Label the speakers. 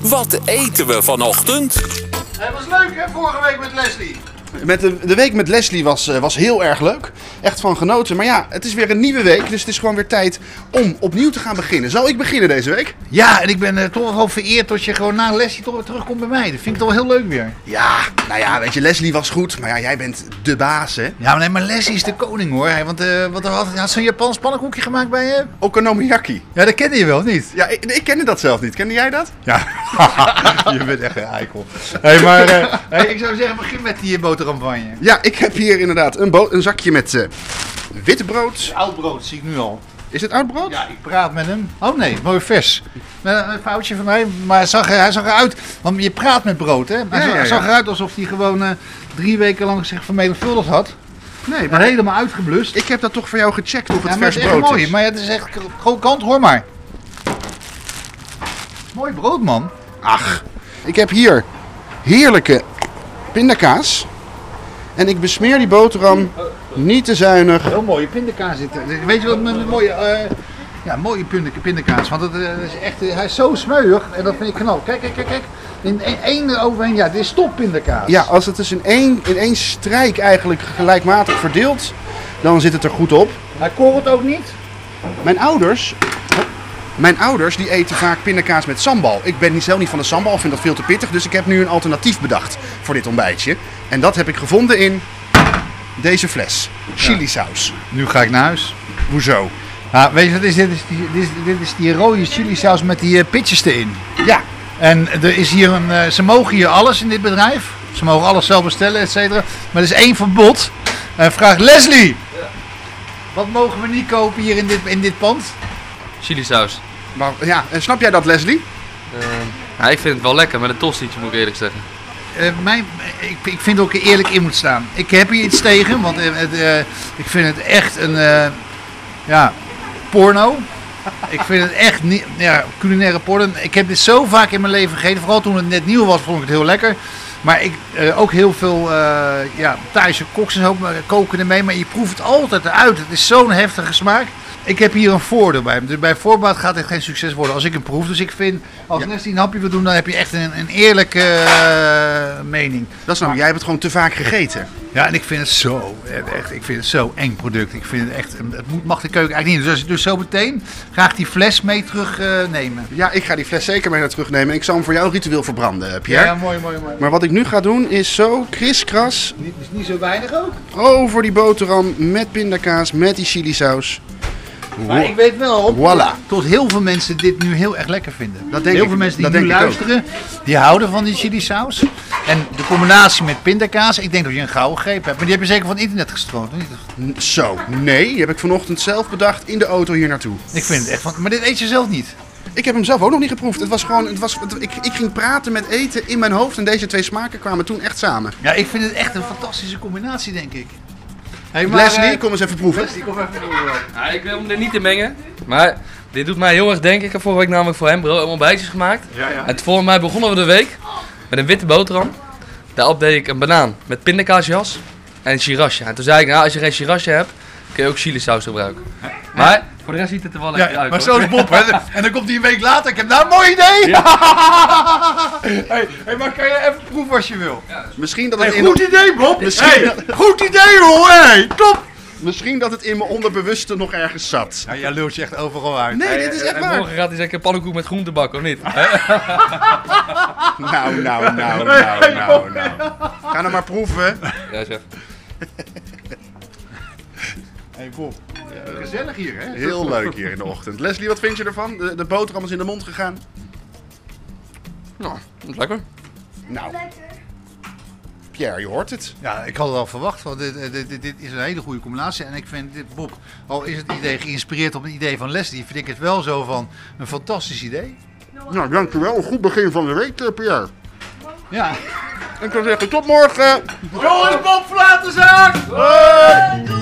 Speaker 1: Wat eten we vanochtend?
Speaker 2: Het was leuk hè, vorige week met Leslie.
Speaker 3: Met de, de week met Leslie was, eh, was heel erg leuk. Echt van genoten. Maar ja, het is weer een nieuwe week. Dus het is gewoon weer tijd om opnieuw te gaan beginnen. Zal ik beginnen deze week?
Speaker 2: Ja, en ik ben eh, toch wel vereerd dat je gewoon na Leslie toch weer terugkomt bij mij. Dat vind ik toch wel heel leuk weer.
Speaker 3: Ja, nou ja, weet je, Leslie was goed. Maar ja, jij bent de baas, hè?
Speaker 2: Ja, maar, nee, maar Leslie is de koning hoor. Hij- Want eh, wat, had, had zo'n Japans pannenkoekje gemaakt bij eh? je?
Speaker 3: Okonomiyaki.
Speaker 2: Ja, dat kende je wel, of niet?
Speaker 3: Ja, ik, ik kende dat zelf niet. Kende jij dat?
Speaker 2: Ja, je bent echt een eikel. Hey, maar, eh, hey, ik zou zeggen, begin met die eh, boterham van je.
Speaker 3: Ja, ik heb hier inderdaad een, bo- een zakje met eh wit brood.
Speaker 2: Oud brood zie ik nu al.
Speaker 3: Is dit oud brood?
Speaker 2: Ja, ik praat met hem. Oh nee, mooi vers. Met een foutje van mij, maar hij zag, er- hij zag eruit. Want je praat met brood, hè? Hij
Speaker 3: Ja,
Speaker 2: zag,
Speaker 3: ja, ja.
Speaker 2: zag eruit alsof hij gewoon eh, drie weken lang zich vermenigvuldigd had.
Speaker 3: Nee,
Speaker 2: Maar
Speaker 3: maar
Speaker 2: helemaal uitgeblust.
Speaker 3: ik heb dat toch voor jou gecheckt of het
Speaker 2: ja, maar
Speaker 3: vers
Speaker 2: het is echt
Speaker 3: brood
Speaker 2: mooi.
Speaker 3: is.
Speaker 2: Maar ja, het is echt krokant, hoor maar. Mooi brood, man.
Speaker 3: Ach, ik heb hier heerlijke pindakaas. En ik besmeer die boterham niet te zuinig.
Speaker 2: Heel mooie pindakaas zit er. Weet je wat met een mooie, eh, ja, mooie pinda- pindakaas. Want dat eh, is echt, eh, hij is zo smeuig en dat vind ik knap. Kijk, kijk, kijk, kijk. In één- één overheen, ja, dit is top pindakaas.
Speaker 3: Ja, als het dus in één, in één strijk eigenlijk gelijkmatig verdeelt, dan zit het er goed op.
Speaker 2: Hij korrelt ook niet.
Speaker 3: Mijn ouders, mijn ouders die eten vaak pindakaas met sambal. Ik ben niet- zelf niet van de sambal, vind dat veel te pittig. Dus ik heb nu een alternatief bedacht voor dit ontbijtje. En dat heb ik gevonden in deze fles. Chilisaus.
Speaker 2: Nu ga ik naar huis.
Speaker 3: Hoezo?
Speaker 2: Ja, weet je wat is dit? Dit is die, dit is, dit is die rode chilisaus met die eh, pitjes erin.
Speaker 3: Ja,
Speaker 2: En er is hier een, eh, ze mogen hier alles in dit bedrijf. Ze mogen alles zelf bestellen, et cetera. Maar er is één verbod. Eh vraag Leslie. Wat mogen we niet kopen hier in dit, in dit pand?
Speaker 4: Chilisaus.
Speaker 3: maar, ja, en snap jij dat Leslie?
Speaker 4: Ehm ja, ik vind het wel lekker, met een tostietje moet ik eerlijk zeggen.
Speaker 2: Eh, mijn, ik, ik vind dat ik er eerlijk in moet staan. Ik heb hier iets tegen, want eh, het, eh, ik vind het echt een eh, ja, porno. Ik vind het echt niet, ja, culinaire porno. Ik heb dit zo vaak in mijn leven gegeten. Vooral toen het net nieuw was, vond ik het heel lekker. Maar ik, eh, ook heel veel eh ja, Thaise koks en zo eh, koken ermee. Maar je proeft het altijd eruit. Het is zo'n heftige smaak. Ik heb hier een voordeel bij. Dus bij voorbaat gaat het geen succes worden als ik hem proef. Dus ik vind, als
Speaker 3: Ja.
Speaker 2: Nessie een hapje wil doen, dan heb je echt een, een eerlijke eh, mening.
Speaker 3: Dat snap ik. Jij hebt het gewoon te vaak gegeten.
Speaker 2: Ja, en ik vind het zo, eh, echt, ik vind het zo eng product. Ik vind het echt, het moet, mag de keuken eigenlijk niet. Dus, dus zo meteen graag die fles mee eh, terugnemen.
Speaker 3: Ja, ik ga die fles zeker mee naar terugnemen. Ik zal hem voor jou ritueel verbranden, eh, Pierre.
Speaker 2: mooi, mooi, mooi.
Speaker 3: Maar wat ik nu ga doen is zo kriskras
Speaker 2: Niet, is niet zo weinig ook.
Speaker 3: over die boterham met pindakaas, met die chilisaus.
Speaker 2: Maar ik weet wel,
Speaker 3: Voilà.
Speaker 2: tot heel veel mensen dit nu heel erg lekker vinden.
Speaker 3: Dat denk
Speaker 2: heel
Speaker 3: ik-
Speaker 2: veel mensen die
Speaker 3: dat
Speaker 2: nu
Speaker 3: denk ik ook.
Speaker 2: luisteren, die houden van die chili saus. En de combinatie met pindakaas, ik denk dat je een gouden greep hebt. Maar die heb je zeker van het internet gestrooid. of niet?
Speaker 3: N- Zo, nee, die heb ik vanochtend zelf bedacht in de auto hier naartoe.
Speaker 2: Ik vind het echt van, maar dit eet je zelf niet.
Speaker 3: Ik heb hem zelf ook nog niet geproefd. Het was gewoon, het was, het- ik, ik ging praten met eten in mijn hoofd en deze twee smaken kwamen toen echt samen.
Speaker 2: Ja, ik vind het echt een fantastische combinatie, denk ik. Hey, eh,
Speaker 3: Leslie, kom eens even proeven.
Speaker 4: Ja, ik wil hem er niet in mengen, maar dit doet mij heel erg denken. Ik heb vorige week namelijk voor hem brood en ontbijtjes gemaakt. En voor mij begonnen we de week met een witte boterham. Daarop deed ik een banaan met pindakaasjas en een sriracha. En toen zei ik, nou als je geen sriracha hebt, kun je ook chilisaus gebruiken. Maar voor de rest ziet het er wel lekker
Speaker 2: Ja,
Speaker 4: uit
Speaker 2: maar
Speaker 4: hoor.
Speaker 2: zo is Bob, hè. En dan komt hij een week later. Ik heb nou een mooi idee. hey, hey, maar kan je even proeven als je wil?
Speaker 3: Misschien dat het, in,
Speaker 2: goed idee, Bob.
Speaker 3: Misschien
Speaker 2: Hey, goed idee, hoor. Hey, top.
Speaker 3: misschien dat het in mijn onderbewuste nog ergens zat.
Speaker 2: Ja, jij lult je echt overal uit.
Speaker 3: Nee, dit is
Speaker 2: eh,
Speaker 3: echt
Speaker 4: en
Speaker 3: waar.
Speaker 4: morgen gaat hij zeker pannenkoek met groente bakken, of niet?
Speaker 3: Nou, nou, nou, nou, nou, nou. Ga nou maar proeven.
Speaker 4: ja, chef.
Speaker 2: Hey, Bob. Gezellig hier, hè?
Speaker 3: Heel leuk hier in de ochtend. Leslie, wat vind je ervan? De, de boterham is in de mond gegaan.
Speaker 4: Nou, dat is lekker.
Speaker 3: Nou. Pierre, je hoort het.
Speaker 2: Ja, ik had het al verwacht, want dit, eh, dit, dit, dit is een hele goede combinatie. En ik vind dit, Bob, al is het idee geïnspireerd op een idee van Leslie, vind ik het wel zo van een fantastisch idee.
Speaker 3: Nou, dankjewel. Een goed begin van de week, eh, Pierre.
Speaker 2: Ja.
Speaker 3: En ik zou zeggen, tot morgen.
Speaker 2: Jongens, Bob, verlaat de zaak!
Speaker 3: Hoi!